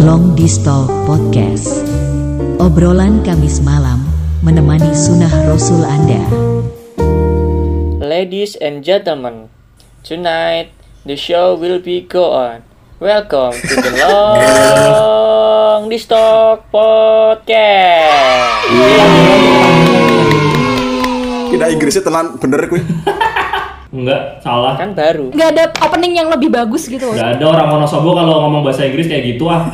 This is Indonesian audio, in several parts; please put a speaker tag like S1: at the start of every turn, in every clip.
S1: Long Distal Podcast. Obrolan Kamis malam menemani sunnah Rasul Anda.
S2: Ladies and gentlemen, tonight the show will be go on. Welcome to the Long Distalk Podcast.
S3: Kita Inggrisnya tenan bener kuy.
S4: Enggak, salah.
S2: Kan baru.
S5: nggak ada opening yang lebih bagus gitu loh.
S4: Enggak ada orang Wonosobo kalau ngomong bahasa Inggris kayak gitu ah.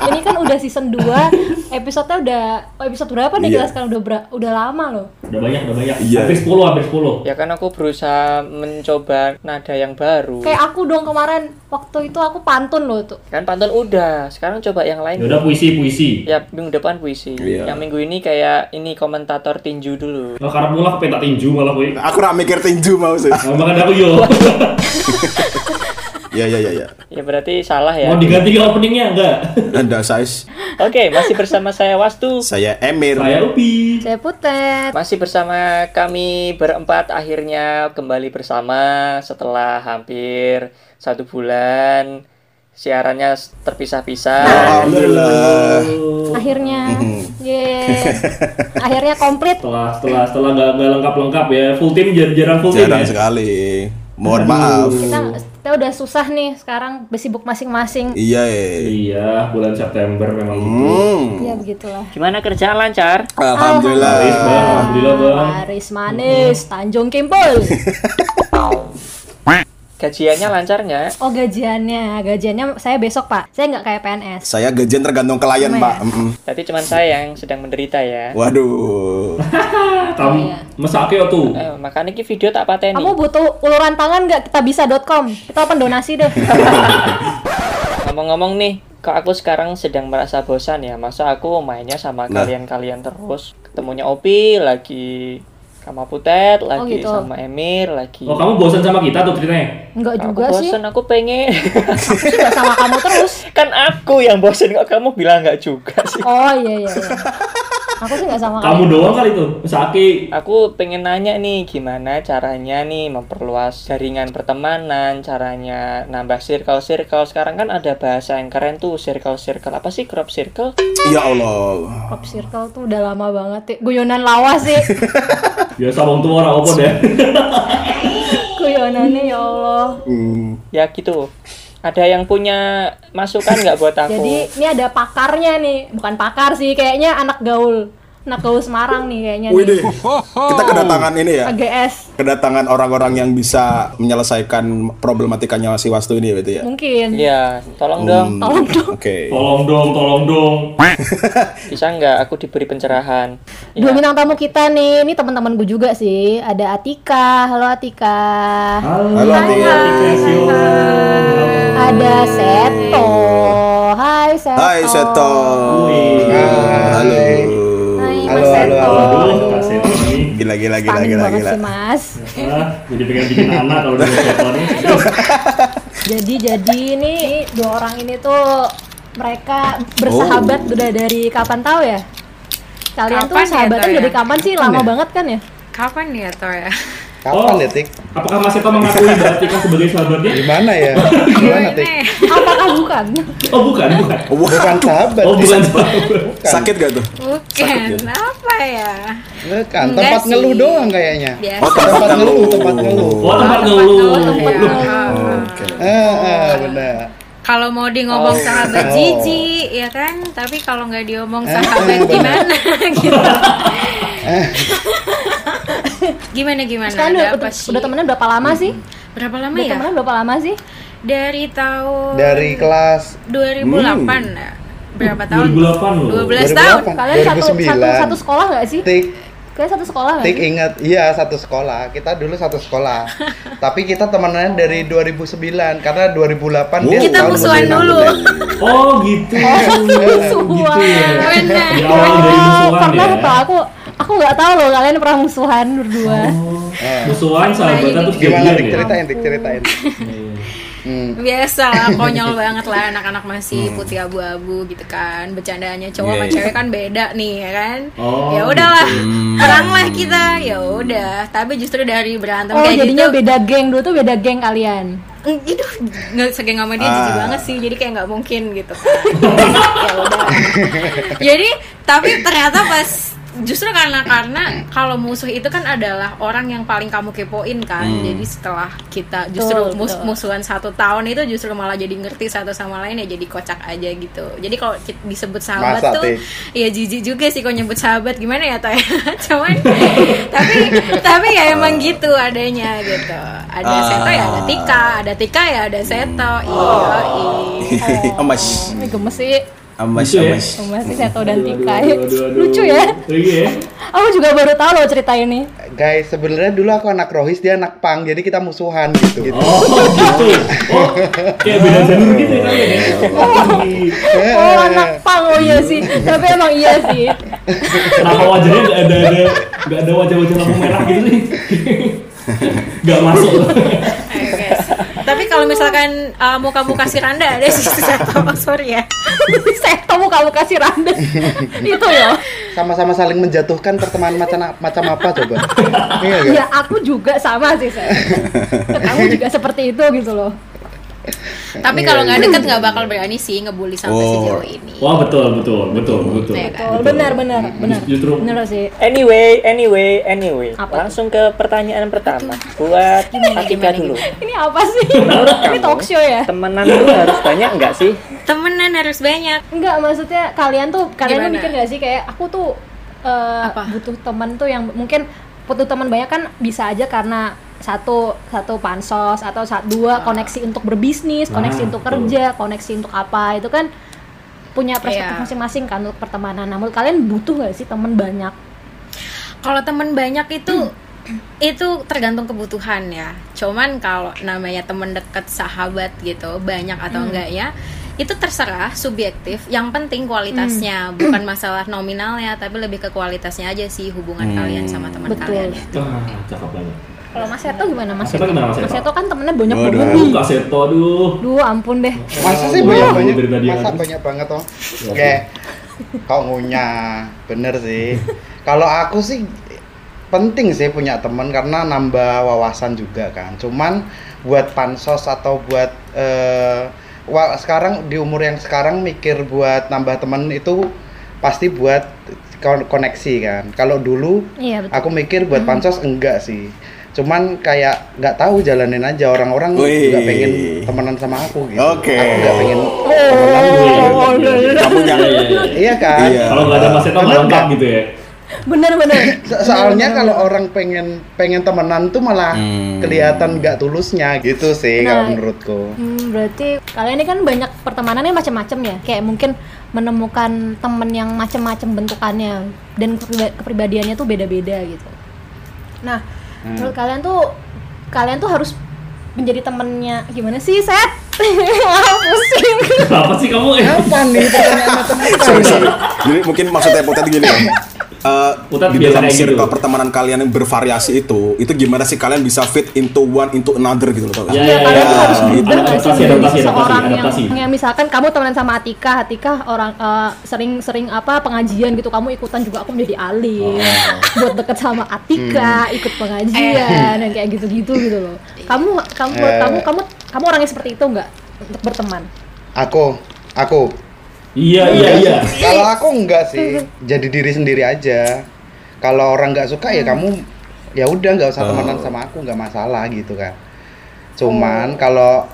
S5: Ini kan udah season 2, episode-nya udah oh, episode berapa nih
S3: Iya.
S5: kita sekarang udah ber- udah lama loh.
S4: Udah banyak, udah banyak.
S3: Iya.
S4: Hampir 10, hampir 10.
S2: Ya kan aku berusaha mencoba nada yang baru.
S5: Kayak aku dong kemarin waktu itu aku pantun loh tuh.
S2: Kan pantun udah, sekarang coba yang
S4: Ya
S2: lain.
S4: udah puisi, puisi.
S2: Ya minggu depan puisi.
S3: Iya.
S2: Yang minggu ini kayak ini komentator tinju dulu.
S4: Nah, karena pula aku pentak tinju malah gue.
S3: Nah, Aku ra mikir tinju mau sih.
S4: Nah, makan aku yo.
S3: Ya ya ya ya.
S2: Ya berarti salah ya.
S4: Mau diganti openingnya enggak?
S3: Anda size
S2: Oke, masih bersama saya Wastu.
S3: saya Emir.
S4: Saya Upi.
S5: Saya putet.
S2: Masih bersama kami berempat akhirnya kembali bersama setelah hampir satu bulan siarannya s- terpisah-pisah.
S3: Alhamdulillah.
S5: Akhirnya. Yeay. Akhirnya komplit.
S4: Setelah setelah setelah nggak nggak lengkap lengkap ya full team jarang, jarang full team
S3: Jarang
S4: ya.
S3: sekali. Mohon maaf.
S5: Kita, kita udah susah nih sekarang besibuk masing-masing.
S3: Iya. eh.
S4: Iya bulan September memang gitu.
S3: Hmm.
S5: Ya begitulah.
S2: Gimana kerjaan lancar?
S4: Baris
S3: Alhamdulillah.
S4: bang, alhamdulillah bang.
S5: Maris manis, Tanjung Kimpul.
S2: Gajiannya lancar nggak?
S5: Oh gajiannya, gajiannya saya besok pak. Saya nggak kayak PNS.
S3: Saya gajian tergantung klien,
S5: Sama
S3: Pak.
S5: ya?
S3: Mm-mm.
S2: Tadi cuma saya yang sedang menderita ya.
S3: Waduh.
S4: Kamu mesake tuh.
S2: Eh, makanya ki video tak pateni.
S5: Kamu butuh uluran tangan nggak? Kita bisa.com. Kita open donasi deh.
S2: Ngomong-ngomong nih, kok aku sekarang sedang merasa bosan ya. Masa aku mainnya sama
S3: Nah.
S2: kalian-kalian terus. Ketemunya Opi lagi sama Putet, lagi
S5: gitu.
S2: sama Emir, lagi.
S4: Oh kamu bosan sama kita tuh ceritanya?
S5: Nggak
S2: Aku
S5: juga sih.
S2: bosan, aku pengen.
S5: Aku sih nggak sama kamu terus.
S2: kan aku yang bosen kok kamu bilang nggak juga sih
S5: Oh iya iya. iya. Aku sih nggak sama kamu.
S4: Kamu doang kali tuh mesake.
S2: aku pengen nanya nih gimana caranya nih memperluas jaringan pertemanan caranya nambah circle circle sekarang kan ada bahasa yang keren tuh circle circle apa sih crop circle
S3: Ya Allah.
S5: Pop circle tuh udah lama banget. Ya. Guyonan lawas sih.
S4: Biasa bang tua orang opo deh.
S5: Guyonannya ya Allah.
S3: Hmm.
S2: ya gitu ada yang punya masukan nggak buat aku
S5: Jadi ini ada pakarnya nih. Bukan pakar sih, kayaknya anak gaul. Anak gaul Semarang nih kayaknya.
S3: Wih deh.
S5: Nih.
S3: Kita kedatangan ini ya.
S5: AGS
S3: Kedatangan orang-orang yang bisa menyelesaikan problematikanya si Wastu ini berarti ya.
S5: mungkin.
S2: ya tolong dong
S3: Hmm.
S5: Tolong dong.
S3: Oke.
S4: Tolong dong, tolong dong.
S2: bisa nggak aku diberi pencerahan
S5: Dua
S2: ya.
S5: bintang tamu kita nih, ini teman-teman gue juga sih. Ada Atika, halo Atika.
S3: Halo, Atika.
S5: Ada Seto. Hai Seto.
S3: Hai Seto. Halo.
S5: Hai Mas
S6: Halo, halo,
S5: Seto.
S4: Aduh, Kak Seto ini.
S3: Gila gila gila
S5: Stunning
S3: gila
S5: banget
S3: gila.
S5: sih Mas.
S4: Ah, jadi pengen bikin anak kalau udah Seto ini.
S5: Jadi jadi ini dua orang ini tuh mereka bersahabat udah dari kapan tahu ya? Kalian
S7: Kapan
S5: tuh
S7: ya,
S5: sahabatan
S7: Toya?
S5: dari kapan sih? Lama banget kan ya?
S7: Kapan ya Tor ya?
S6: Kapan ya, Tik?
S4: Apakah Mas Seto mengakui Mbak Tika sebagai sahabatnya?
S6: Gimana ya? Gimana, Tik?
S7: Gimana ya?
S5: Apakah bukan?
S4: Oh, bukan, bukan.
S6: Bukan
S3: Waduh.
S6: sahabat,
S4: Oh,
S6: Tik.
S4: bukan sahabat.
S3: Sakit gak tuh?
S7: Bukan, apa ya?
S6: Bukan,
S7: Enggak
S6: tempat
S7: sih.
S6: ngeluh doang kayaknya.
S7: Biasa
S3: Oh,
S6: Tempat
S3: tempat
S6: ngeluh,
S3: ngeluh.
S6: tempat ngeluh.
S4: Oh, tempat
S7: kalau
S4: ngeluh.
S7: ya.
S4: Loh,
S3: Oke.
S6: Ah,
S7: Oh.
S6: ah, benar.
S7: Kalau mau di ngomong
S2: Oh.
S7: sahabat
S6: Oh.
S7: jijik ya kan, tapi kalau nggak diomong sahabat
S6: Eh,
S7: gimana gitu.
S6: Eh,
S7: Gimana gimana?
S5: Kalian udah,
S7: Ada apa
S5: udah,
S7: sih?
S5: udah temenan berapa lama sih?
S7: Berapa lama
S5: Udah
S7: ya?
S5: temenan berapa lama sih?
S7: Dari tahun
S6: dari Hmm. kelas
S7: 2008 ya? Berapa tahun?
S4: 2008 loh.
S7: 12 tahun.
S6: 2008.
S5: Kalian satu, satu
S6: 2009.
S5: satu sekolah nggak sih?
S6: Tik,
S5: Kalian satu sekolah nggak
S6: Tik
S5: sih?
S6: ingat, iya satu sekolah. Kita dulu satu sekolah. Tapi kita temenannya dari 2009 karena 2008 dia
S7: Kita
S6: tahun
S7: musuhan
S6: kemudian
S7: dulu.
S6: aku deh.
S4: Oh, gitu.
S5: Musuhan.
S4: Gitu ya.
S7: Benar.
S4: Di awal dari
S5: Oh,
S4: musuhan ya.
S5: pernah tau aku aku nggak tahu loh kalian pernah musuhan berdua.
S4: Oh.
S6: Eh,
S4: Musuhan sahabatan terus
S6: Gimana, Tik?
S4: jadian ya.
S6: Ceritain, Tik, ceritain. Hmm.
S7: Biasa lah, konyol banget lah anak-anak masih putih abu-abu gitu kan. Bercandaannya cowok sama
S3: Hmm. Iya, iya.
S7: cewek kan beda nih ya kan.
S4: Oh,
S7: ya udahlah, peranglah
S3: Hmm.
S7: kita. Ya udah, tapi justru dari berantem
S5: Oh
S7: kayak
S5: jadinya
S7: gitu.
S5: beda geng dulu tuh beda geng kalian.
S7: gitu nggak segeng sama dia jijik
S3: Ah.
S7: banget sih jadi kayak nggak mungkin gitu kan ya udah jadi tapi ternyata pas justru karena karena kalau musuh itu kan adalah orang yang paling kamu kepoin kan
S3: Hmm.
S7: jadi setelah kita justru
S5: Betul,
S7: mus-
S5: betul.
S7: musuhan satu tahun itu justru malah jadi ngerti satu sama lain ya jadi kocak aja gitu jadi kalau ki- disebut sahabat
S6: Masa,
S7: tuh
S6: Tik?
S7: ya jijik juga sih kalau nyebut sahabat gimana ya toh cuman tapi tapi ya emang gitu adanya gitu ada
S3: Ah.
S7: seto ya ada tika ada tika ya ada seto iya iya
S3: Emas,
S5: Ini gemes sih,
S3: emas,
S4: Gitu ya?
S3: emas.
S5: gemes sih Seto dan
S4: Aduh,
S5: Tika.
S4: aduh, aduh, aduh.
S5: Lucu ya.
S4: Iya ya.
S5: Aku juga baru tahu loh cerita ini.
S6: Guys, sebenarnya dulu aku anak rohis, dia anak pang, jadi kita musuhan gitu. gitu.
S4: Oh gitu. Oh kayak beda jalur gitu ya kalian ya. Eh,
S5: Oh anak pang, oh iya sih. Tapi emang iya sih.
S4: Kenapa wajahnya nggak ada ada nggak ada wajah-wajah lampu merah gitu nih? Gak masuk.
S7: Ayo, guys. tapi kalau misalkan uh, muka-muka si Randa ada si seto sorry ya
S5: Seto muka muka si Randa. Itu loh.
S6: Sama-sama saling menjatuhkan pertemanan macam macam apa coba? Iya guys.
S5: Ya aku juga sama sih Seto. Kamu juga seperti itu gitu loh.
S7: tapi kalau nggak deket nggak bakal berani sih ngebully sampai
S3: Oh.
S7: sejauh ini
S4: Wah betul betul betul betul.
S7: Iya kan?
S5: Betul, benar benar benar.
S4: Justru.
S5: Benar sih.
S2: Anyway, anyway, anyway.
S5: Apa
S2: Langsung ke pertanyaan pertama. Buat Atika
S7: gimana,
S2: dulu.
S5: Ini apa sih?
S2: Menurut
S5: Ini
S2: kamu,
S5: talk show ya?
S2: Temenan lu harus banyak nggak sih?
S7: temenan harus banyak
S5: Enggak, maksudnya kalian tuh kalian tuh
S7: Gimana?
S5: bikin gak sih kayak aku tuh eh,
S7: Apa?
S5: butuh teman tuh yang mungkin butuh teman banyak kan bisa aja karena satu satu pansos atau sa- dua koneksi untuk berbisnis, koneksi
S4: Ah,
S5: untuk
S4: betul.
S5: kerja, koneksi untuk apa itu kan punya perspektif
S7: Iya.
S5: masing-masing kan untuk pertemanan. Namun kalian butuh gak sih teman banyak?
S7: kalau temen banyak itu itu tergantung kebutuhan ya cuman kalau namanya temen deket sahabat gitu banyak atau enggaknya itu terserah subjektif yang penting kualitasnya bukan masalah nominalnya tapi lebih ke kualitasnya aja sih hubungan kalian sama teman
S5: Betul.
S7: kalian ya.
S4: Ah cakep banget.
S5: Kalau Mas Seto gimana Mas?
S4: Mas Seto gimana, Mas Seto?
S5: kan temennya banyak
S3: Waduh.
S5: banget
S4: Aduh
S5: nih.
S4: Kak Seto aduh.
S5: Duh, ampun deh.
S6: Masa sih
S4: Aduh,
S6: banyak
S4: aduh,
S6: banyak?
S4: dari tadi
S6: Masa
S4: aduh.
S6: banyak banget toh? Kayak kok ngunyah, bener sih. Kalau aku sih penting sih punya teman karena nambah wawasan juga kan. Cuman buat pansos atau buat eh, wa- sekarang di umur yang sekarang mikir buat nambah teman itu pasti buat kon- koneksi kan. Kalau dulu
S5: Iya, betul.
S6: aku mikir buat pansos enggak sih. Cuman kayak nggak tahu jalanin aja orang-orang
S3: Wih.
S6: nggak pengen temenan sama aku gitu.
S3: Oke.
S6: Aku nggak pengen gitu.
S4: Oh,
S3: Kamu jangan.
S6: Iya kan?
S3: Iya.
S4: Kalau nggak ada Mas Seto nggak
S6: Bener
S4: lengkap
S6: nggak?
S4: gitu ya.
S5: Bener bener.
S6: So- Soalnya kalau orang pengen pengen temenan tuh malah
S3: Hmm.
S6: kelihatan nggak tulusnya gitu sih kalau
S5: Nah.
S6: menurutku.
S5: Hmm, berarti kalian ini kan banyak pertemanannya macam-macam ya. Kayak mungkin menemukan temen yang macam-macam bentukannya dan kepriba- kepribadiannya tuh beda-beda gitu. Nah, menurut kalian tuh kalian tuh harus menjadi temennya gimana sih, Set? Pusing.
S4: Apa sih kamu? Eh,
S6: Apa nih pertanyaan teman?
S3: sorry sorry jadi mungkin maksudnya Putet gini ya Eh,
S4: Putet
S3: di
S4: biasa
S3: dalam
S4: kayak
S3: circle
S4: gitu.
S3: pertemanan kalian yang bervariasi itu itu gimana sih kalian bisa fit into one into another gitu loh tau kan?
S4: Ya,
S5: Iya,
S4: ya,
S5: kalian
S4: ya.
S5: tuh harus berubah nggak sih
S4: Adaptasi,
S5: menjadi
S4: adaptasi,
S5: seorang
S4: adaptasi, adaptasi.
S5: yang, yang misalkan kamu temenan sama Atika, Atika orang eh, sering-sering apa pengajian gitu, kamu ikutan juga aku menjadi
S4: Oh,
S5: alim
S4: iya.
S5: buat deket sama Atika,
S6: Hmm.
S5: ikut pengajian dan kayak gitu-gitu gitu loh. Kamu kamu
S6: Eh.
S5: kamu kamu kamu orangnya seperti itu nggak untuk berteman?
S6: Aku, aku.
S4: Iya, iya, iya.
S6: Kalau aku enggak sih, jadi diri sendiri aja. Kalau orang nggak suka ya kamu ya udah nggak usah
S4: Oh.
S6: temenan sama aku nggak masalah gitu kan. Cuman kalau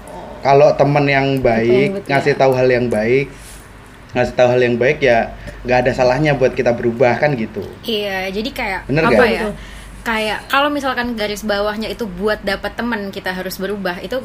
S6: kalau temen yang baik
S5: Oh. betul,
S6: ngasih tahu hal yang baik ngasih tahu hal yang baik ya nggak ada salahnya buat kita berubah kan gitu.
S7: Iya, jadi kayak
S6: Bener
S7: apa
S6: gak?
S7: ya? Kayak kalau misalkan garis bawahnya itu buat dapat teman kita harus berubah itu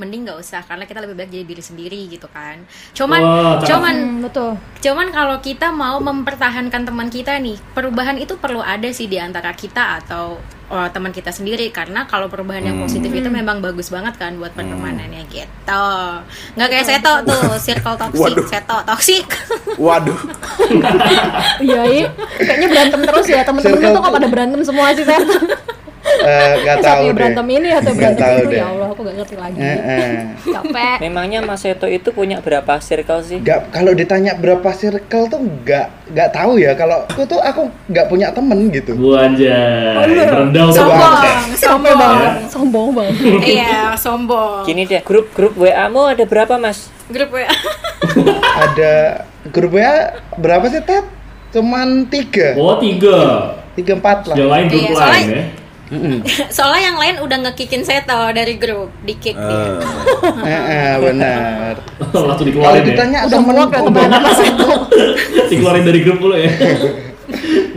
S7: mending nggak usah karena kita lebih baik jadi diri sendiri gitu kan. Cuman
S4: Wah, cakep.
S7: cuman
S5: Hmm, betul.
S7: cuman kalau kita mau mempertahankan teman kita nih, perubahan itu perlu ada sih di antara kita atau oh, teman kita sendiri karena kalau perubahan yang positif itu memang bagus banget kan buat pertemanannya gitu. Nggak kayak seto tuh, circle toxic,
S3: Waduh.
S7: seto toxic.
S3: waduh
S5: Iya, iya. kayaknya berantem terus ya temen-temen
S6: Circle
S5: tuh kok
S6: tuh-
S5: pada berantem semua sih, Seth.
S6: Eh, nggak tahu
S5: saatnya
S6: deh.
S5: berantem ini atau
S6: Nggak
S5: berantem
S6: tahu
S5: itu
S6: deh.
S5: ya Allah aku gak ngerti lagi
S6: Eh, eh.
S5: capek
S2: Memangnya Mas Seto itu punya berapa circle sih?
S6: Nggak- kalau ditanya berapa circle tuh nggak nggak tahu ya. Kalau aku tuh aku nggak punya temen gitu.
S4: Gua aja rendah
S7: sombong
S4: banget.
S5: capek
S4: Iya.
S7: sombong
S5: banget sombong banget
S7: iya sombong
S2: Gini deh, grup-grup WA-mu ada berapa, Mas?
S7: grup WA
S6: Ada grup WA berapa sih Ted? Cuman tiga,
S4: Oh tiga.
S6: tiga empat lah.
S4: Yang lain grup
S7: Iya,
S4: lain
S7: soalnya-
S4: ya.
S3: Hmm.
S7: soalnya yang lain udah ngekikin Seto dari grup di kick dia
S3: Eh,
S6: Eh, eh, benar.
S4: Langsung
S6: Kalau
S4: dikeluarin ya.
S6: ditanya
S5: Udah
S6: temen
S5: muak ya
S6: oh,
S5: teman mas itu
S4: Dikeluarin dari grup dulu ya.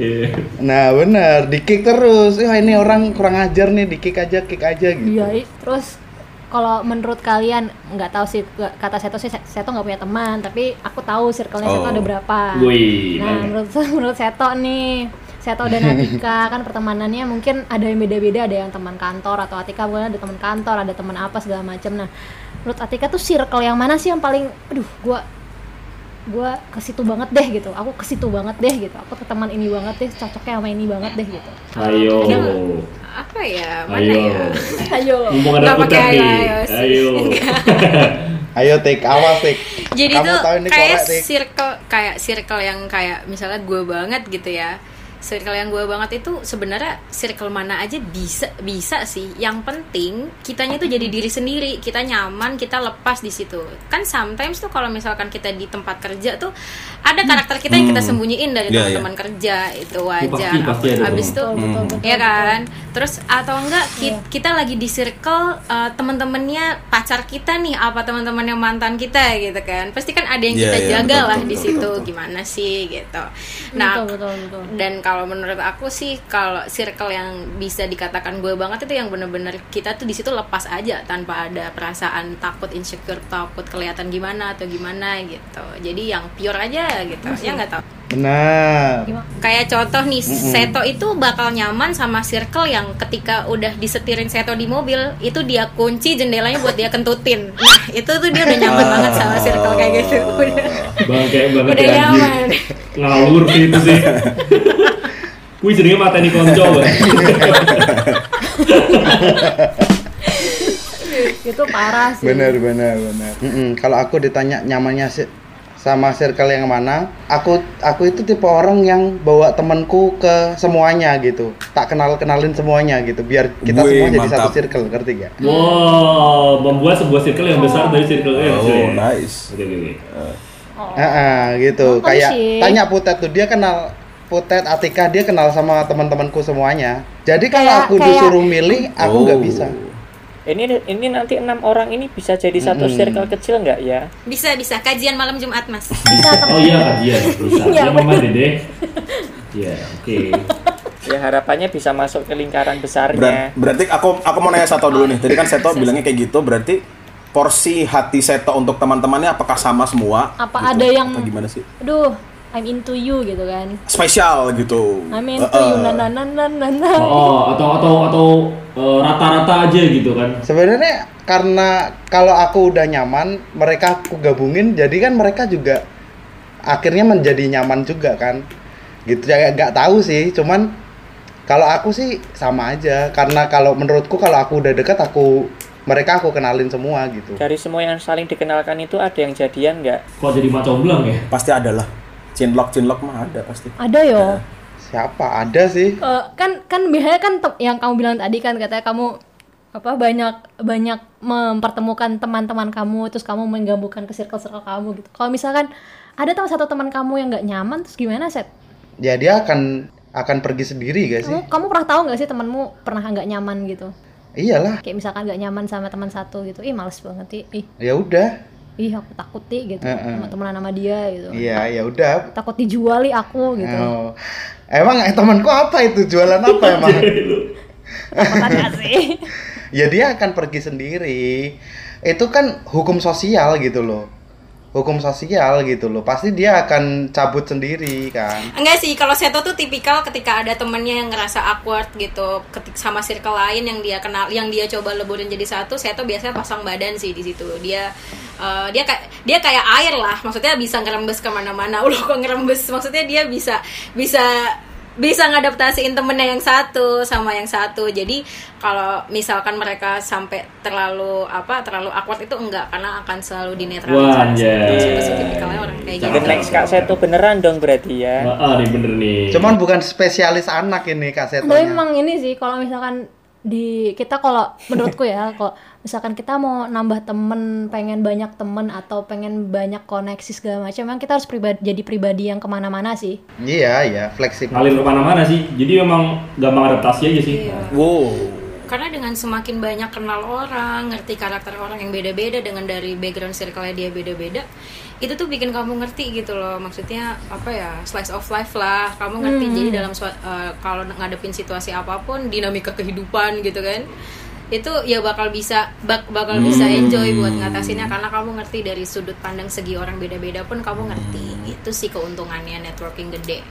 S4: Iya.
S6: Nah benar, di kick terus. Wah ini orang kurang ajar nih, di kick aja, kick aja gitu.
S5: iya i- terus kalau menurut kalian nggak tahu sih nggak- kata Seto sih Se- Seto nggak punya teman tapi aku tahu circle-nya Seto
S3: Oh.
S5: ada berapa
S4: Wih.
S5: nah menurut menurut Seto nih Seto dan Atika kan pertemanannya mungkin ada yang beda-beda ada yang teman kantor atau Atika bukan ada teman kantor ada teman apa segala macam nah menurut Atika tuh circle yang mana sih yang paling aduh gua gua ke situ banget deh gitu aku ke situ banget deh gitu aku ke teman ini banget deh cocoknya sama ini banget deh gitu
S4: Ayo.
S7: apa ya mana
S4: Ayo.
S7: ya
S5: ayo
S4: Mumpung ada
S7: Nggak
S4: aku
S7: pakai
S4: tadi.
S7: ayo, ayo, sih.
S4: Ayo.
S6: Ayo tik, awas tik.
S7: jadi
S6: Kamu
S7: tuh
S6: tahu ini
S7: kayak
S6: korek tik.
S7: circle kayak circle yang kayak misalnya gue banget gitu ya circle yang gue banget itu sebenarnya circle mana aja bisa bisa sih yang penting kitanya tuh jadi diri sendiri kita nyaman kita lepas di situ kan sometimes tuh kalau misalkan kita di tempat kerja tuh ada karakter kita yang kita sembunyiin dari
S3: Iya,
S7: teman-teman kerja itu wajar
S4: pasti- pasti ada
S7: abis
S4: dong.
S3: gitu.
S7: itu
S5: betul,
S3: Hmm.
S5: Iya.
S7: Iya kan? Terus atau enggak ki- kita lagi di circle uh, teman-temannya pacar kita nih apa teman-temannya mantan kita gitu kan. Pasti kan ada yang
S3: Iya,
S7: kita
S3: iya,
S7: jaga
S3: betul,
S7: lah
S3: betul,
S7: di
S3: betul,
S7: situ
S3: betul.
S7: gimana sih gitu.
S5: betul
S7: Nah,
S5: betul betul
S7: dan kalau menurut aku sih kalau circle yang bisa dikatakan gue banget itu yang bener-bener kita tuh di situ lepas aja tanpa ada perasaan takut insecure takut kelihatan gimana atau gimana gitu jadi yang pure aja gitu
S3: Iya.
S7: ya nggak tau
S6: Benar.
S7: kayak contoh nih Seto itu bakal nyaman sama circle yang ketika udah disetirin Seto di mobil itu dia kunci jendelanya buat dia kentutin nah itu tuh dia udah nyaman banget sama circle kayak gitu udah
S4: Bang kayak banget
S7: udah
S4: ya, anjing.
S7: nyaman
S4: Ngawur sih itu sih. Wih jadinya mata nih konco Bang.
S5: itu parah sih
S6: Benar, benar, benar. Mm-mm, Kalau aku ditanya nyamannya si- sama circle yang mana, aku aku itu tipe orang yang bawa temanku ke semuanya gitu. Tak kenal kenalin semuanya gitu, biar kita
S3: Wih,
S6: semua jadi satu
S3: mantap.
S6: circle, ngerti gak?
S4: Wow, membuat sebuah circle yang besar dari circle yang kecil.
S3: oh,
S4: ya.
S3: nice.
S4: Oke, oke, oke.
S6: gitu.
S5: Oh. Nonton
S6: Kayak
S5: sih.
S6: tanya Putet tuh dia kenal Putet Atika dia kenal sama teman-temanku semuanya. Jadi kalau
S5: Kayak-
S6: aku
S5: kayak-
S6: disuruh milih, aku nggak
S3: Oh.
S6: bisa.
S2: Ini ini nanti enam orang ini bisa jadi satu circle kecil nggak ya?
S7: bisa bisa kajian malam Jumat mas
S4: Oh iya, kajian bisa.
S5: Iya,
S4: Ya mama Dede. Iya, oke.
S2: Ya harapannya bisa masuk ke lingkaran
S3: Berat-
S2: besarnya.
S3: berarti aku aku mau nanya Seto dulu nih. Tadi kan Seto bilangnya kayak gitu, berarti porsi hati Seto untuk teman-temannya apakah sama semua?
S5: Apa
S3: Gitu.
S5: ada yang-
S3: Apa gimana sih?
S5: aduh I'm into you gitu kan
S3: Spesial gitu.
S5: I'm into
S3: Eh, eh.
S6: Uh-uh.
S5: you na na na na na na.
S4: Oh, atau atau atau eh, rata-rata aja gitu kan.
S6: Sebenarnya karena kalau aku udah nyaman, mereka aku gabungin, jadi kan mereka juga akhirnya menjadi nyaman juga kan. Gitu ya nggak tahu sih, cuman kalau aku sih sama aja karena kalau menurutku kalau aku udah deket aku mereka aku kenalin semua gitu.
S2: Dari semua yang saling dikenalkan itu ada yang jadian nggak?
S4: Kok jadi macomblang ya?
S3: Pasti ada lah. Cinlok cinlok mah ada pasti.
S5: ada yo
S6: Uh-uh. Siapa ada sih?
S5: Eh, kan kan biasanya kan tem- yang kamu bilang tadi kan katanya kamu apa banyak banyak mempertemukan teman-teman kamu terus kamu menggabungkan ke circle-circle kamu gitu kalau misalkan ada tahu satu teman kamu yang nggak nyaman terus gimana set
S6: Ya dia akan akan pergi sendiri gak Iya sih?
S5: kamu kamu pernah tahu nggak sih temanmu pernah nggak nyaman gitu
S6: Iyalah,
S5: kayak misalkan nggak nyaman sama teman satu gitu ih males banget ih ih,
S6: ya udah.
S5: ih aku takut ih gitu
S6: Heeh.
S5: sama temenan sama dia gitu
S6: Uh-uh. Iya, ya udah.
S5: takut dijuali aku gitu
S6: Oh. Emang eh, temanku apa itu jualan apa emang?
S5: Makanya sih
S6: ya dia akan pergi sendiri. Itu kan hukum sosial gitu loh. Hukum sosial gitu loh. Pasti dia akan cabut sendiri kan.
S7: Enggak sih, kalau Seto tuh tipikal ketika ada temennya yang ngerasa awkward gitu, ketik sama circle lain yang dia kenal, yang dia coba leburin jadi satu, Seto biasanya pasang badan sih di situ. Dia eh, dia kayak dia kayak air lah, maksudnya bisa ngerembes kemana-mana. Udah kok ngerembes, maksudnya dia bisa bisa bisa ngadaptasiin temennya yang satu sama yang satu jadi kalau misalkan mereka sampai terlalu apa terlalu awkward itu enggak karena akan selalu
S4: Wah,
S7: dinetralisasi
S4: anjay.
S7: Pasti tipikalnya orang kayak gitu
S2: The next Kak Seto beneran dong berarti ya.
S4: Wah, ah, nih bener nih.
S6: Cuman bukan spesialis anak ini Kak Seto.
S5: Tapi memang ini sih kalau misalkan di kita kalau menurutku ya kalau misalkan kita mau nambah temen pengen banyak temen atau pengen banyak koneksi segala macam memang kita harus pribadi jadi pribadi yang kemana-mana sih
S6: Iya, iya, fleksibel.
S4: ngalir kemana-mana sih. Jadi memang gampang adaptasi aja sih.
S7: Iya.
S3: Wow.
S7: karena dengan semakin banyak kenal orang ngerti karakter orang yang beda-beda dengan dari background circle-nya dia beda-beda itu tuh bikin kamu ngerti gitu loh maksudnya apa ya slice of life lah kamu ngerti
S5: Hmm.
S7: jadi dalam sua- eh, kalau ngadepin situasi apapun dinamika kehidupan gitu kan itu ya bakal bisa bak- bakal bisa
S5: Hmm.
S7: enjoy buat ngatasinnya karena kamu ngerti dari sudut pandang segi orang beda-beda pun kamu ngerti
S5: Hmm.
S7: itu sih keuntungannya networking gede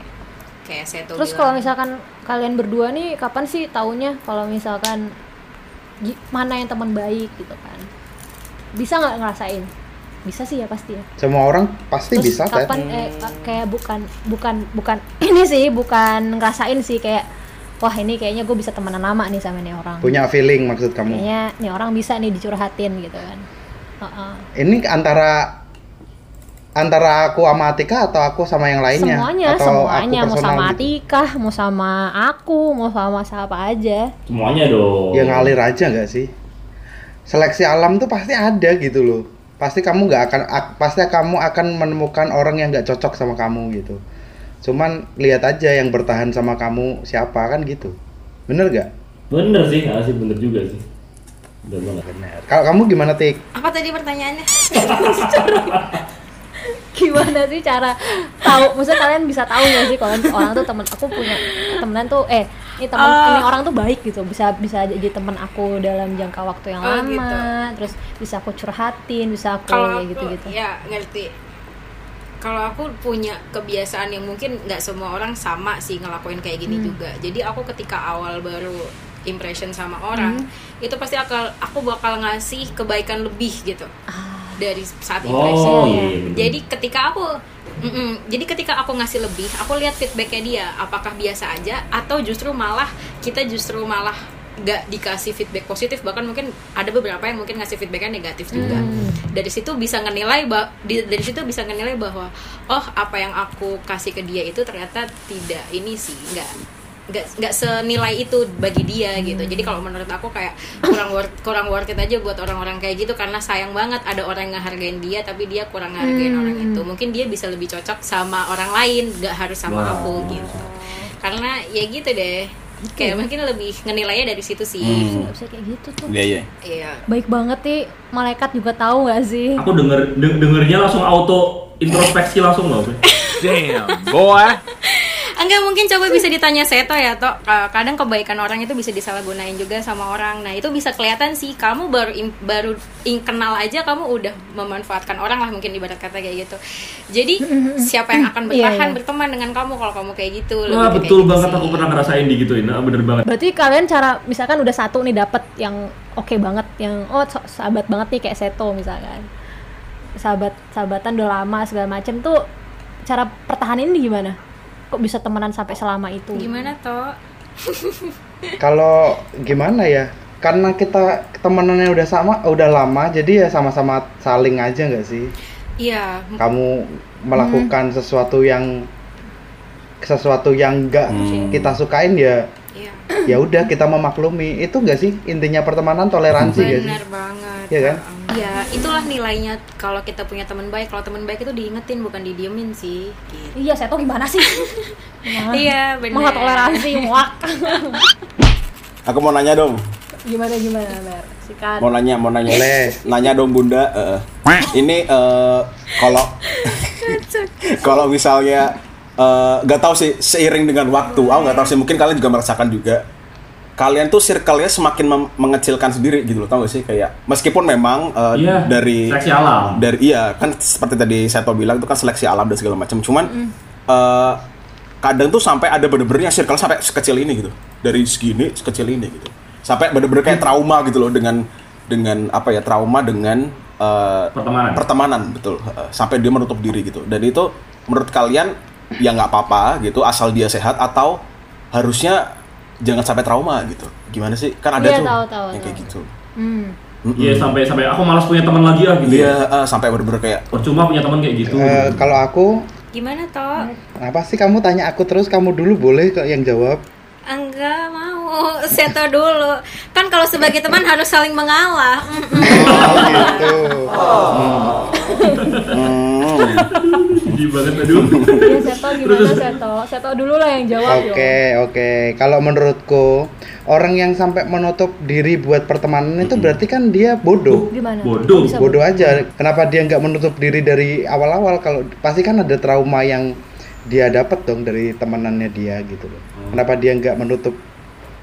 S7: kayak saya tuh
S5: terus kalau misalkan kalian berdua nih kapan sih taunya kalau misalkan gi- mana yang teman baik gitu kan bisa nggak ngerasain bisa sih ya pasti ya
S6: Semua orang pasti
S5: Terus
S6: bisa, Tet.
S5: kapan eh, ka- kayak bukan bukan bukan ini sih bukan ngerasain sih kayak wah ini kayaknya gue bisa temenan lama nih sama nih orang
S6: Punya feeling maksud kamu.
S5: kayaknya nih orang bisa nih dicurhatin gitu kan Heeh.
S6: Ini antara antara aku sama Atika atau aku sama yang lainnya?
S5: semuanya
S6: atau
S5: semuanya
S6: aku
S5: mau sama
S6: personal gitu?
S5: Atika mau sama aku mau sama siapa aja
S4: Semuanya dong.
S6: Ya ngalir aja nggak sih? Seleksi alam tuh pasti ada gitu loh. Pasti kamu nggak akan ak- pasti kamu akan menemukan orang yang nggak cocok sama kamu gitu. Cuman lihat aja yang bertahan sama kamu siapa kan gitu. Bener gak?
S4: Bener sih, ah, sih bener juga sih. Bener banget.
S6: Kalau kamu gimana tik?
S7: apa tadi pertanyaannya
S5: gimana sih cara tahu maksudnya kalian bisa tahu nggak sih kalau orang tuh temen aku punya temenan tuh eh ini temen
S7: Ah.
S5: ini orang tuh baik gitu bisa bisa jadi temen aku dalam jangka waktu yang
S7: Oh,
S5: lama
S7: gitu.
S5: terus bisa aku curhatin bisa aku
S7: kalau
S5: ya gitu gitu
S7: aku- ya ngerti kalau aku punya kebiasaan yang mungkin nggak semua orang sama sih ngelakuin kayak gini juga jadi aku ketika awal baru impression sama orang itu pasti akal aku bakal ngasih kebaikan lebih gitu dari saat impression
S4: Oh, iya. bener.
S7: jadi ketika aku Mm-mm. jadi ketika aku ngasih lebih aku lihat feedbacknya dia apakah biasa aja atau justru malah kita justru malah gak dikasih feedback positif bahkan mungkin ada beberapa yang mungkin ngasih feedbacknya negatif juga dari situ bisa ngenilai ba- di- dari situ bisa ngenilai bahwa oh apa yang aku kasih ke dia itu ternyata tidak ini sih nggak nggak nggak senilai itu bagi dia gitu jadi kalau menurut aku kayak kurang worth kurang worth it aja buat orang-orang kayak gitu karena sayang banget ada orang yang ngehargain dia tapi dia kurang ngehargain orang itu mungkin dia bisa lebih cocok sama orang lain nggak harus sama
S4: Wah.
S7: aku gitu karena ya gitu deh kayak mungkin lebih ngenilainya dari situ sih
S5: Nggak bisa kayak gitu tuh
S3: Hmm. Iya iya.
S7: iya
S5: baik banget nih malaikat juga tahu gak sih
S4: Aku denger de- dengernya langsung auto introspeksi langsung loh. Bre.
S8: Damn, boy.
S7: Enggak mungkin coba bisa ditanya Seto ya toh Ka- kadang kebaikan orang itu bisa disalahgunain juga sama orang nah itu bisa kelihatan sih kamu baru im- baru ing- kenal aja kamu udah memanfaatkan orang lah mungkin ibarat kata kayak gitu jadi siapa yang akan
S5: Iya,
S7: bertahan
S5: iya.
S7: berteman dengan kamu kalau kamu kayak gitu lebih
S4: Wah
S7: ke kayak
S4: betul
S7: gitu
S4: banget
S7: sih.
S4: aku pernah ngerasain digituin. Ah, bener banget.
S5: berarti kalian cara misalkan udah satu nih dapet yang oke banget yang oh so- sahabat banget nih kayak Seto misalkan sahabat sahabatan udah lama segala macem tuh cara pertahanin ini gimana kok bisa temenan sampai selama itu
S7: gimana toh
S6: Kalau gimana ya? Karena kita temenannya udah sama, udah lama, jadi ya sama-sama saling aja nggak sih?
S7: iya
S6: Kamu melakukan sesuatu yang sesuatu yang nggak kita sukain ya
S7: iya
S6: ya udah kita memaklumi itu enggak sih intinya pertemanan toleransi
S4: ya,
S6: nggak sih
S7: benar banget
S6: Iya kan?
S7: ya itulah nilainya kalau kita punya teman baik kalau teman baik itu diingetin bukan didiemin sih gitu.
S5: iya Seto gimana sih
S7: iya benar
S5: maha toleransi muak
S3: Aku mau nanya dong.
S5: gimana gimana Mer sikat
S3: Mau nanya, mau nanya.
S6: Boleh.
S3: Nanya dong Bunda. eh, eh. ini eh, kalau kalau misalnya eh, nggak tahu sih seiring dengan waktu, aku nggak tahu sih mungkin kalian juga merasakan juga. Kalian tuh circle-nya semakin mem- mengecilkan sendiri gitu loh, tau gak sih? Kayak meskipun memang eh,
S4: Iya,
S3: dari
S4: seleksi alam.
S3: dari iya kan seperti tadi Seto bilang itu kan seleksi alam dan segala macam. Cuman
S5: Hmm.
S3: eh, kadang tuh sampai ada bener-bener yang circle sampai sekecil ini gitu. Dari segini sekecil ini gitu. Sampai bener-bener kayak trauma gitu loh dengan dengan apa ya trauma dengan eh,
S4: Pertemanan.
S3: pertemanan betul. Eh, sampai dia menutup diri gitu. Dan itu menurut kalian ya nggak apa-apa gitu asal dia sehat atau harusnya jangan sampai trauma gitu gimana sih kan ada
S5: Iya,
S3: tuh
S5: tahu, tahu,
S3: yang kayak
S5: tahu.
S3: gitu
S5: Hmm.
S3: Mm-mm.
S4: Iya sampai sampai aku malas punya teman lagi lah gitu.
S3: Iya,
S4: ya.
S3: eh, sampai bener-bener kayak
S4: Percuma punya teman kayak gitu.
S6: Eh, kalau aku
S7: Gimana toh?
S6: apa sih kamu tanya aku terus kamu dulu boleh kok yang jawab
S7: Enggak mau seto dulu. Kan kalau sebagai teman harus saling mengalah. Mm-mm.
S6: oh, gitu
S3: hmm,
S4: Gini banget aduh.
S5: Ya Seto gimana Seto? Seto dulu lah yang jawab
S6: Oke,
S5: dong.
S6: oke. Kalau menurutku, orang yang sampai menutup diri buat pertemanan itu berarti kan dia bodoh.
S5: Gimana?
S4: Bodoh.
S5: Bisa
S6: Bodoh aja. Kenapa dia nggak menutup diri dari awal-awal? Kalau pasti kan ada trauma yang dia dapat dong dari temanannya dia gitu loh. Kenapa dia nggak menutup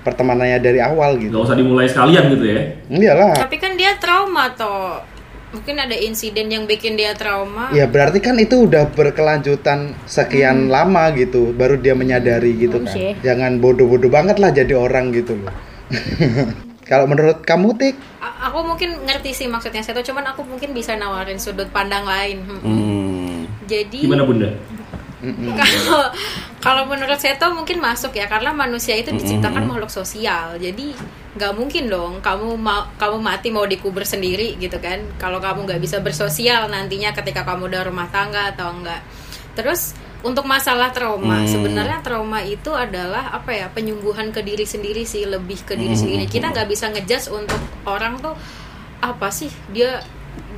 S6: pertemanannya dari awal gitu?
S4: Gak usah dimulai sekalian gitu ya.
S6: Iyalah.
S7: Tapi kan dia trauma toh. Mungkin ada insiden yang bikin dia trauma.
S6: Ya berarti kan itu udah berkelanjutan sekian lama gitu, baru dia menyadari gitu
S5: Hmm,
S6: kan.
S5: sih.
S6: Jangan bodoh-bodoh banget lah jadi orang gitu loh. Kalau menurut kamu Tik,
S7: A- aku mungkin ngerti sih maksudnya seto, cuman aku mungkin bisa nawarin sudut pandang lain. Mm.
S3: hmm.
S7: Jadi
S4: Gimana bunda?
S7: kalau kalau menurut Seto mungkin masuk ya karena manusia itu diciptakan makhluk sosial jadi nggak mungkin dong kamu mau kamu mati mau dikubur sendiri gitu kan kalau kamu nggak bisa bersosial nantinya ketika kamu udah rumah tangga atau enggak terus untuk masalah trauma sebenarnya trauma itu adalah apa ya penyungguhan ke diri sendiri sih lebih ke diri sendiri kita nggak bisa ngejas untuk orang tuh apa sih dia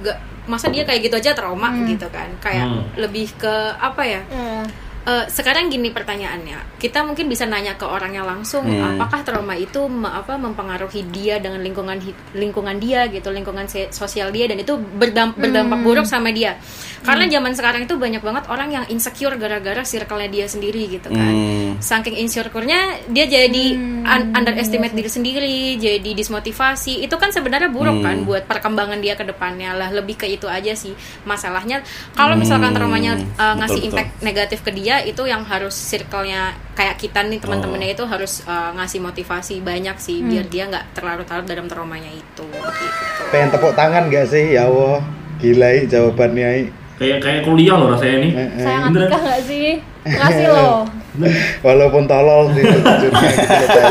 S7: nggak masa dia kayak gitu aja trauma gitu kan kayak
S4: Hmm.
S7: lebih ke apa ya
S5: Eh,
S7: Eh, sekarang gini pertanyaannya, kita mungkin bisa nanya ke orangnya langsung,
S3: Hmm.
S7: apakah trauma itu me- apa mempengaruhi dia dengan lingkungan hi- lingkungan dia gitu, lingkungan se- sosial dia dan itu berdam- berdampak buruk sama dia. Karena zaman sekarang itu banyak banget orang yang insecure gara-gara circle-nya dia sendiri gitu kan
S3: Hmm.
S7: saking insecure-nya dia jadi un- underestimate diri sendiri, jadi dismotivasi. Itu kan sebenarnya buruk kan
S3: Hmm.
S7: buat perkembangan dia ke depannya. Lah lebih ke itu aja sih masalahnya. Kalau
S3: Hmm,
S7: misalkan traumanya uh,
S3: betul,
S7: ngasih
S3: betul.
S7: impact negatif ke dia, itu yang harus circle-nya kayak kita nih
S3: Oh.
S7: teman-temannya itu harus uh, ngasih motivasi banyak sih biar dia nggak terlarut-larut dalam traumanya itu. Gitu.
S6: pengen tepuk tangan nggak sih? Ya Allah, gila I, jawabannya. I.
S4: Kayak kayak kuliah loh rasanya nih.
S5: sayang
S4: Beneran.
S5: nikah nggak sih? Makasih loh.
S6: Walaupun tolol sih sejujurnya gitu loh, Teh.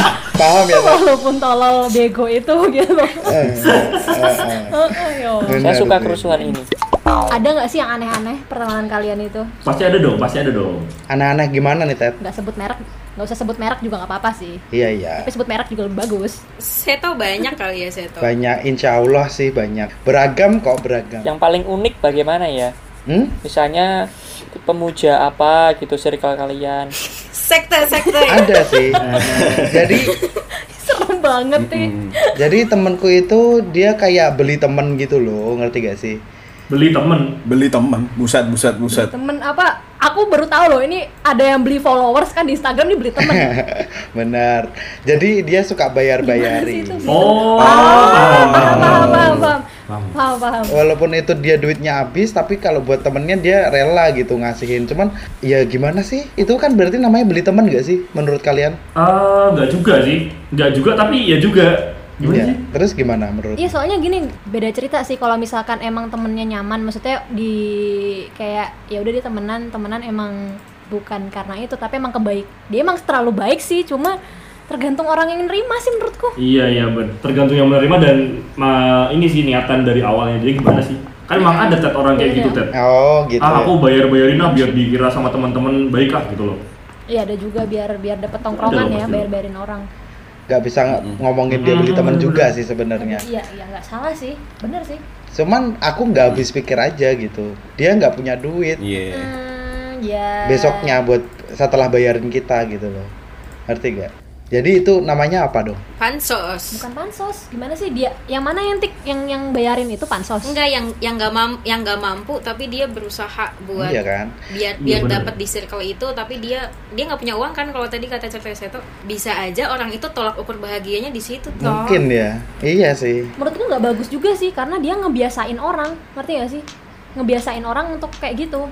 S6: Paham ya? Teh?
S5: Walaupun tolol bego itu gitu.
S6: Eh, eh, eh.
S5: Heeh, yo.
S2: Saya
S6: Benar,
S2: suka
S6: Teh.
S2: kerusuhan ini.
S5: Ada nggak sih yang aneh-aneh pertemanan kalian itu?
S4: Pasti ada dong, pasti ada dong.
S6: Anak-anak gimana nih, Ted?
S5: Nggak sebut merek, nggak usah sebut merek juga nggak apa-apa sih.
S6: Iya, iya.
S5: Tapi sebut merek juga lebih bagus.
S7: Seto banyak kali ya Seto.
S6: Banyak, insya Allah sih banyak. Beragam kok beragam.
S2: Yang paling unik bagaimana ya?
S6: Hmm?
S2: Misalnya pemuja apa gitu circle kalian.
S7: Sekte sekte.
S6: Ada sih. Jadi
S5: Serem banget sih.
S6: jadi temenku itu dia kayak beli temen gitu loh, ngerti gak sih?
S4: Beli temen.
S3: Beli teman, buset, buset, buset.
S5: Temen apa? Aku baru tahu loh ini ada yang beli followers kan di Instagram nih beli temen.
S6: Benar. Jadi dia suka
S5: Sih
S6: bayar-bayari.
S5: itu.
S4: Oh.
S5: Paham, paham, paham, paham, paham, paham, paham.
S6: walaupun itu dia duitnya habis tapi kalau buat temennya dia rela gitu ngasihin cuman ya gimana sih itu kan berarti namanya beli temen gak sih menurut kalian
S4: Ah, nggak juga sih. Nggak juga tapi ya juga. Gimana
S6: Iya.
S4: sih?
S6: terus gimana menurut
S5: Iya soalnya gini beda cerita sih kalau misalkan emang temennya nyaman maksudnya di kayak ya udah dia temenan temenan emang bukan karena itu tapi emang kebaik dia emang terlalu baik sih cuma tergantung orang yang nerima sih menurutku
S4: Iya iya ben. Tergantung yang menerima dan ma- ini sih niatan dari awalnya. Jadi gimana sih? Kan emang ada tet orang kayak gitu tet.
S6: oh gitu
S4: Ah
S6: ya.
S4: aku bayar bayarin lah biar dikira sama teman-teman baik lah gitu loh.
S5: Iya ada juga biar biar dapet tongkrongan
S4: Udah,
S5: ya
S4: pasti.
S5: bayar bayarin orang
S6: nggak bisa nge-
S4: Hmm.
S6: ngomongin dia beli temen juga sih sebenarnya
S5: iya iya nggak salah sih bener sih
S6: cuman aku nggak habis pikir aja gitu dia nggak punya duit
S3: Iya.
S5: hmm, ya
S6: besoknya buat setelah bayarin kita gitu loh ngerti gak jadi itu namanya apa dong
S7: Pansos.
S5: bukan pansos gimana sih dia yang mana yang tik yang yang bayarin itu pansos
S7: Enggak yang yang nggak mampu yang nggak mampu tapi dia berusaha buat
S6: iya kan
S7: biar
S4: Iya,
S7: biar
S4: bener.
S7: dapat di circle itu tapi dia dia nggak punya uang kan kalau tadi kata cerita saya tuh bisa aja orang itu tolak ukur bahagianya di situ toh.
S6: mungkin ya iya sih
S5: menurutku nggak bagus juga sih karena dia ngebiasain orang ngerti gak sih ngebiasain orang untuk kayak gitu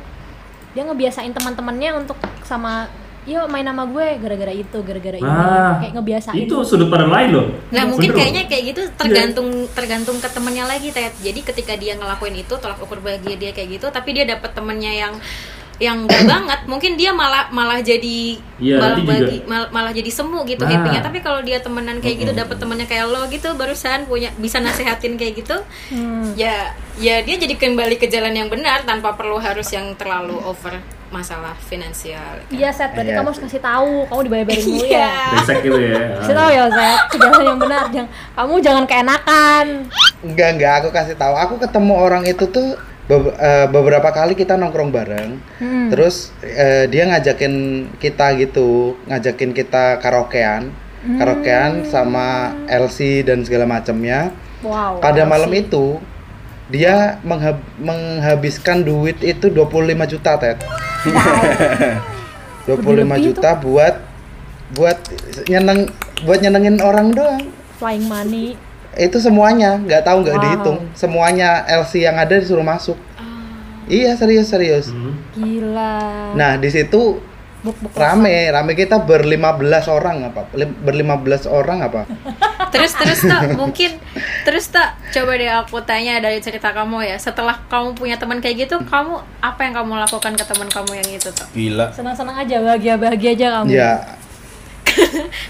S5: dia ngebiasain teman-temannya untuk sama yuk main nama gue gara-gara itu gara-gara ini
S4: Ah,
S5: kayak ngebiasain
S4: Itu sudut pandang lain loh.
S7: Nah mungkin
S4: Bener.
S7: kayaknya kayak gitu tergantung tergantung ke temennya lagi Ted. Jadi ketika dia ngelakuin itu tolak ukur bahagia dia kayak gitu tapi dia dapat temennya yang yang enggak banget mungkin dia malah malah jadi
S4: Iya,
S7: malah
S4: nanti juga.
S7: bagi- mal- malah jadi semu gitu
S4: Nah.
S7: happy-nya. tapi kalau dia temenan kayak gitu dapet temennya kayak lo gitu barusan punya bisa nasehatin kayak gitu
S5: Hmm.
S7: ya ya dia jadi kembali ke jalan yang benar tanpa perlu harus yang terlalu over masalah finansial kan.
S5: Iya, Seth, berarti
S6: Iya.
S5: kamu harus kasih tahu, kamu dibayar-bayarin dulu ya.
S7: Iya.
S4: Besek gitu ya.
S5: Kasih tahu ya, Seth, ke jalan yang benar. Jangan, kamu jangan keenakan.
S6: Enggak, enggak, aku kasih tahu. Aku ketemu orang itu tuh be- eh, beberapa kali kita nongkrong bareng. Terus eh, dia ngajakin kita gitu, ngajakin kita karaokean. Karaokean sama LC dan segala macamnya.
S5: Wow.
S6: Pada malam itu dia mengha- menghabiskan duit itu 25 juta, Ted. 25
S5: Berlebih
S6: juta buat buat nyeneng buat nyenengin orang doang
S5: Flying money.
S6: itu semuanya nggak tahu nggak
S5: Wow.
S6: dihitung semuanya LC yang ada disuruh masuk iya serius serius
S5: Gila.
S6: nah di situ
S5: Buk-buk
S6: rame rame kita berlima belas orang apa Lim- berlima belas orang apa
S7: terus terus tak mungkin terus tak coba deh aku tanya dari cerita kamu ya setelah kamu punya teman kayak gitu kamu apa yang kamu lakukan ke teman kamu yang itu tuh
S3: Gila.
S5: Senang-senang aja, bahagia-bahagia aja kamu.
S6: ya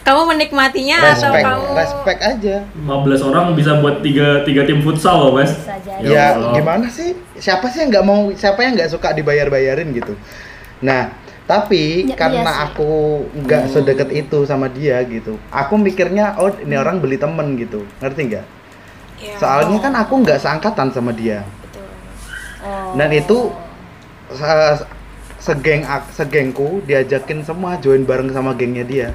S7: kamu menikmatinya atau
S6: respect
S7: kamu
S6: respect aja
S4: 15 orang bisa buat tiga tiga tim futsal loh, Wes.
S5: Bisa jadi.
S4: Ya
S6: ya
S4: Allah.
S6: gimana sih siapa sih yang nggak mau siapa yang nggak suka dibayar bayarin gitu nah tapi
S5: Ya, iya
S6: karena
S5: sih.
S6: aku nggak sedekat itu sama dia gitu aku mikirnya oh ini
S5: Hmm.
S6: orang beli temen gitu ngerti nggak
S7: Ya.
S6: soalnya kan aku nggak seangkatan sama dia
S5: Oh.
S6: dan itu se- segeng ak- segengku diajakin semua join bareng sama gengnya dia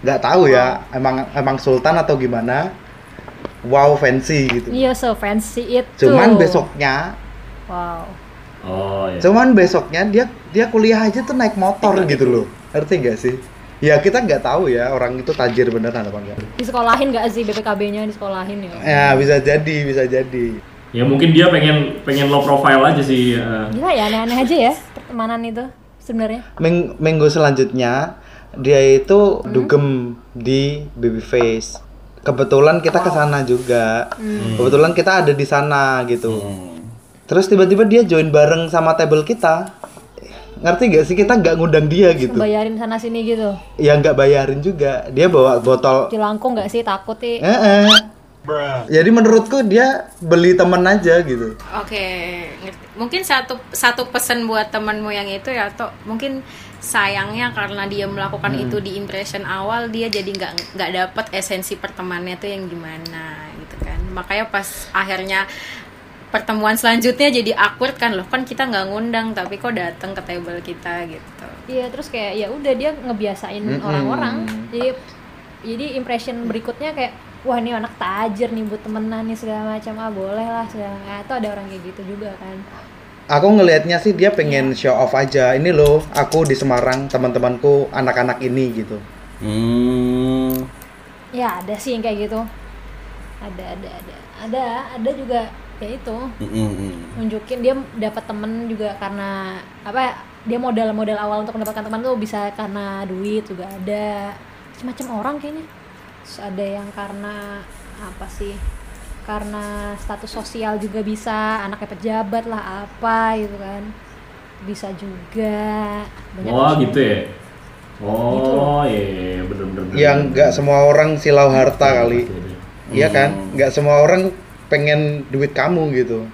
S6: nggak tahu ya
S5: Oh.
S6: emang emang sultan atau gimana wow fancy gitu
S5: Iya, so fancy itu.
S6: cuman besoknya
S5: Wow.
S4: Oh, iya.
S6: cuman besoknya dia dia kuliah aja tuh naik motor gitu loh ngerti nggak sih ya kita nggak tahu ya orang itu tajir beneran apa enggak
S5: Disekolahin gak sih BPKB-nya disekolahin ya?
S6: ya bisa jadi bisa jadi
S4: Ya mungkin dia pengen pengen low profile aja sih. eh.
S5: Gila ya, aneh-aneh aja ya pertemanan itu sebenarnya.
S6: Ming- minggu selanjutnya dia itu dugem di Babyface. Kebetulan kita ke sana juga. Kebetulan kita ada di sana gitu. Terus tiba-tiba dia join bareng sama table kita. Ngerti gak sih kita nggak ngundang dia gitu.
S5: Bayarin sana sini gitu.
S6: Ya nggak bayarin juga. Dia bawa botol.
S5: Dilangkung gak sih takut sih?
S6: Eh, eh. Jadi menurutku dia beli temen aja gitu.
S7: Oke, ngerti. mungkin satu satu pesan buat temanmu yang itu ya atau mungkin sayangnya karena dia melakukan itu di impression awal dia jadi nggak nggak dapat esensi pertemanannya tuh yang gimana gitu kan. Makanya pas akhirnya pertemuan selanjutnya jadi awkward kan loh kan kita nggak ngundang tapi kok datang ke table kita gitu.
S5: Iya, terus kayak ya udah dia ngebiasain orang-orang. Jadi jadi impression berikutnya kayak wah ini anak tajir nih buat temenan nih segala macam ah boleh lah segala macam atau ada orang kayak gitu juga kan
S6: Aku ngelihatnya sih dia pengen show off aja. Ini loh, aku di Semarang, teman-temanku anak-anak ini gitu.
S3: Hmm.
S5: ya ada sih yang kayak gitu ada ada ada ada ada juga ya itu
S3: Mm-mm.
S5: nunjukin dia dapat temen juga karena apa ya, dia modal modal awal untuk mendapatkan teman tuh bisa karena duit juga ada semacam orang kayaknya terus ada yang karena apa sih karena status sosial juga bisa anaknya pejabat lah apa gitu kan bisa juga Banyak
S4: Wah,
S5: macam.
S4: gitu ya.
S5: Gitu
S4: Oh, iya, iya, iya, bener bener. bener.
S6: yang Ya, nggak semua orang silau harta kali
S4: Hmm.
S6: iya kan nggak semua orang pengen duit kamu gitu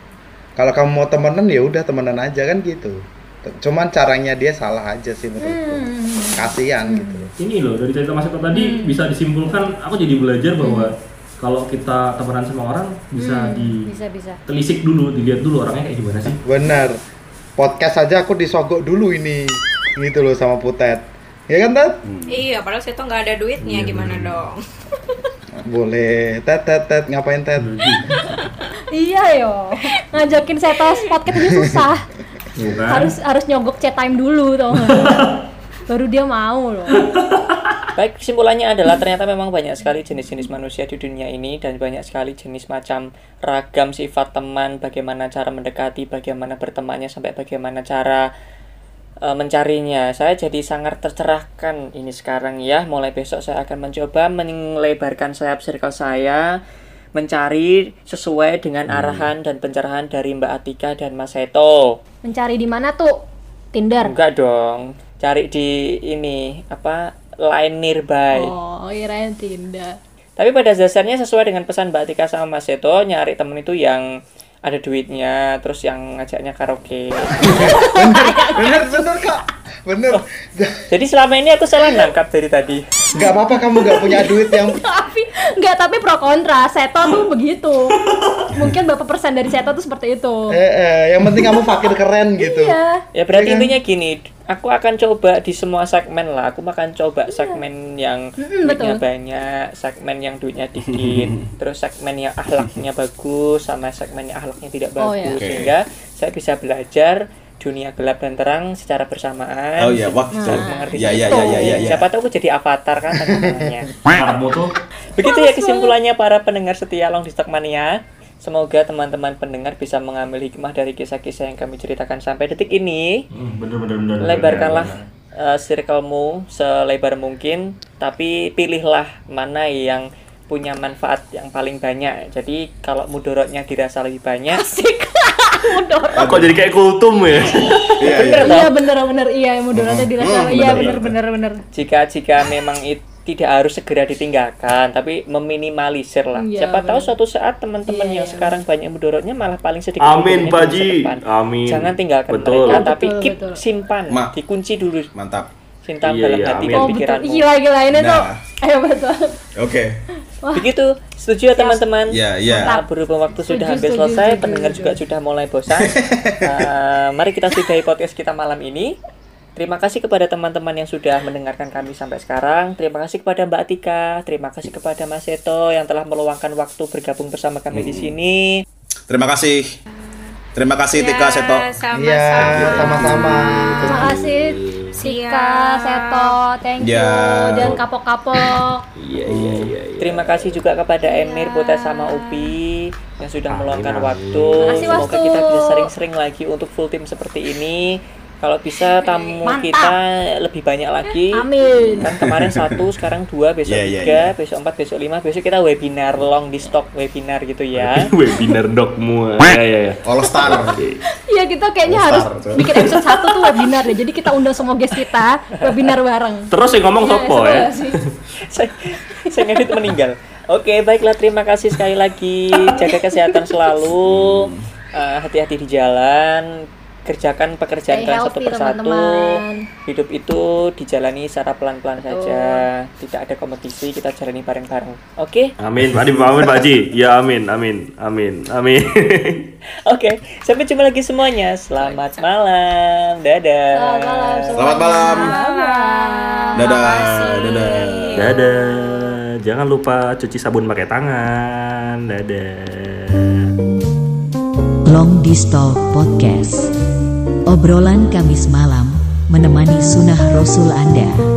S6: kalau kamu mau temenan ya udah temenan aja kan gitu T- cuman caranya dia salah aja sih menurutku
S5: Hmm.
S6: kasihan gitu
S4: Ini loh dari cerita Mas Eko tadi bisa disimpulkan aku jadi belajar
S5: Hmm.
S4: bahwa kalau kita temenan sama orang bisa di
S5: bisa bisa
S4: telisik dulu, dilihat dulu orangnya kayak gimana sih.
S6: benar podcast aja aku disogok dulu ini gitu loh sama putet ya kan tet
S7: Iya, padahal saya tuh nggak ada duitnya gimana dong.
S6: boleh tet tet tet ngapain tet
S5: iya yo ngajakin saya tas podcast aja susah
S6: Iya.
S4: Bukan.
S5: harus harus nyogok chat time dulu tau nggak? baru dia mau loh
S2: Baik, kesimpulannya adalah ternyata memang banyak sekali jenis-jenis manusia di dunia ini dan banyak sekali jenis macam ragam sifat teman, bagaimana cara mendekati, bagaimana bertemannya sampai bagaimana cara eh, mencarinya. Saya jadi sangat tercerahkan ini sekarang ya. Mulai besok saya akan mencoba melebarkan sayap circle saya mencari sesuai dengan arahan dan pencerahan dari Mbak Atika dan Mas Seto.
S5: mencari di mana tuh Tinder
S2: Enggak dong. Cari di ini apa line nearby.
S5: oh kirain Tinder
S2: Tapi pada dasarnya sesuai dengan pesan Mbak Tika sama Mas Seto, nyari temen itu yang ada duitnya, terus yang ngajaknya karaoke.
S6: bener bener kak bener
S2: Jadi selama ini aku salah nangkap dari tadi.
S6: nggak apa-apa kamu nggak punya duit yang
S5: tapi nggak tapi pro kontra Seto tuh begitu mungkin berapa persen dari Seto tuh seperti itu
S6: eh, eh, yang penting kamu fakir keren gitu
S5: iya
S2: Ya berarti
S6: Iya kan?
S2: intinya gini, aku akan coba di semua segmen lah. Aku akan coba segmen yang
S5: Iya. Mm-mm,
S2: duitnya
S5: betul.
S2: banyak, segmen yang duitnya dikit, terus segmen yang akhlaknya bagus sama segmen yang akhlaknya tidak bagus
S5: Oh,
S3: iya. Oke.
S2: sehingga saya bisa belajar dunia gelap dan terang secara bersamaan.
S3: Oh iya, wah.
S2: Mengerti
S3: Ya ya
S2: Nah, itu.
S3: ya ya ya. ya.
S2: Siapa tahu aku jadi avatar kan tanda tangannya.
S4: Kamu tuh
S2: Begitu ya kesimpulannya para pendengar setia Long Distance Mania. Semoga teman-teman pendengar bisa mengambil hikmah dari kisah-kisah yang kami ceritakan sampai detik ini.
S4: hmm, bener bener bener. bener,
S2: Lebarkanlah uh,
S4: bener.
S2: circlemu selebar mungkin, tapi pilihlah mana yang punya manfaat yang paling banyak. Jadi kalau mudorotnya dirasa lebih banyak,
S4: Ah, Kok jadi kayak kultum ya?
S3: Iya iya.
S5: iya bener bener iya mudaratnya dirasa
S3: Hmm,
S5: iya
S3: bener,
S5: bener bener bener
S2: jika jika memang itu tidak harus segera ditinggalkan, tapi meminimalisir lah.
S5: Iya,
S2: Siapa tahu
S5: benar. Iya.
S2: suatu saat teman-teman yang sekarang banyak mudorotnya malah paling sedikit. mudorotnya di
S4: Amin, Pak
S2: masa
S4: Ji.
S2: depan.
S4: Amin.
S2: Jangan tinggalkan
S4: Betul.
S2: mereka, tapi
S5: Betul,
S2: keep
S5: betul.
S2: simpan,
S3: Ma.
S2: dikunci dulu,
S3: Mantap.
S2: simpan
S4: Iya,
S2: dalam
S4: iya,
S2: hati
S4: amin.
S2: dan
S5: oh betul
S2: pikiranmu.
S5: gila gila ini tuh
S3: Nah.
S5: ayo betul
S3: Oke.
S2: Begitu, setuju ya teman-teman?
S3: Ya ya.
S2: Nah, berhubung waktu sudah
S5: Setuju,
S2: hampir
S5: setuju,
S2: selesai,
S5: setuju,
S2: pendengar
S5: setuju.
S2: juga sudah mulai bosan. Eh, mari kita sudahi podcast kita malam ini. Terima kasih kepada teman-teman yang sudah mendengarkan kami sampai sekarang. Terima kasih kepada Mbak Tika, terima kasih kepada Mas Seto yang telah meluangkan waktu bergabung bersama kami di sini.
S3: Terima kasih. Terima kasih
S7: Ya,
S3: Tika Seto.
S6: iya sama-sama
S5: makasih Sika
S7: Siap.
S5: Seto thank you
S3: Ya.
S5: dan kapok-kapok
S4: Iya iya iya. iya.
S2: Terima kasih juga kepada Emir, Putra sama Upi yang sudah meluangkan waktu.
S5: Makasih,
S2: Semoga
S5: Wastu.
S2: kita bisa sering-sering lagi untuk full team seperti ini. Kalau bisa tamu
S5: Mantap.
S2: kita lebih banyak lagi.
S5: amin
S2: kan kemarin satu sekarang dua besok
S3: Iya, iya,
S2: tiga
S3: iya.
S2: besok empat besok lima besok kita webinar long di stock webinar gitu ya
S4: Webinar dokmu. Iya iya iya.
S3: All Star.
S5: Iya kita kayaknya
S3: All
S5: harus
S3: star, tuh.
S5: bikin episode satu tuh webinar deh. Jadi kita undang semua guest kita webinar bareng.
S4: Terus yang ngomong
S5: Iya,
S4: sopo
S5: seru
S4: ya?
S5: gak sih?
S2: saya, saya ngedit meninggal oke baiklah terima kasih sekali lagi jaga kesehatan selalu
S5: Hmm.
S2: Eh, hati-hati di jalan kerjakan pekerjaan
S5: Stay
S2: kalian satu
S5: healthy,
S2: persatu
S5: teman-teman.
S2: hidup itu dijalani secara pelan-pelan saja tidak ada kompetisi kita jalani bareng-bareng oke
S5: Ah.
S4: Amin, Pak Adip, amin Pak Ji. Ya amin, amin, amin, amin.
S2: oke sampai jumpa lagi semuanya selamat malam
S5: Selamat malam. semua.
S3: Selamat malam.
S5: Selamat malam.
S3: Dadah. Dadah.
S4: Dadah. Eh, Jangan lupa cuci sabun pakai tangan. Dadah.
S1: Long Distal Podcast. Obrolan Kamis malam menemani sunnah Rasul Anda.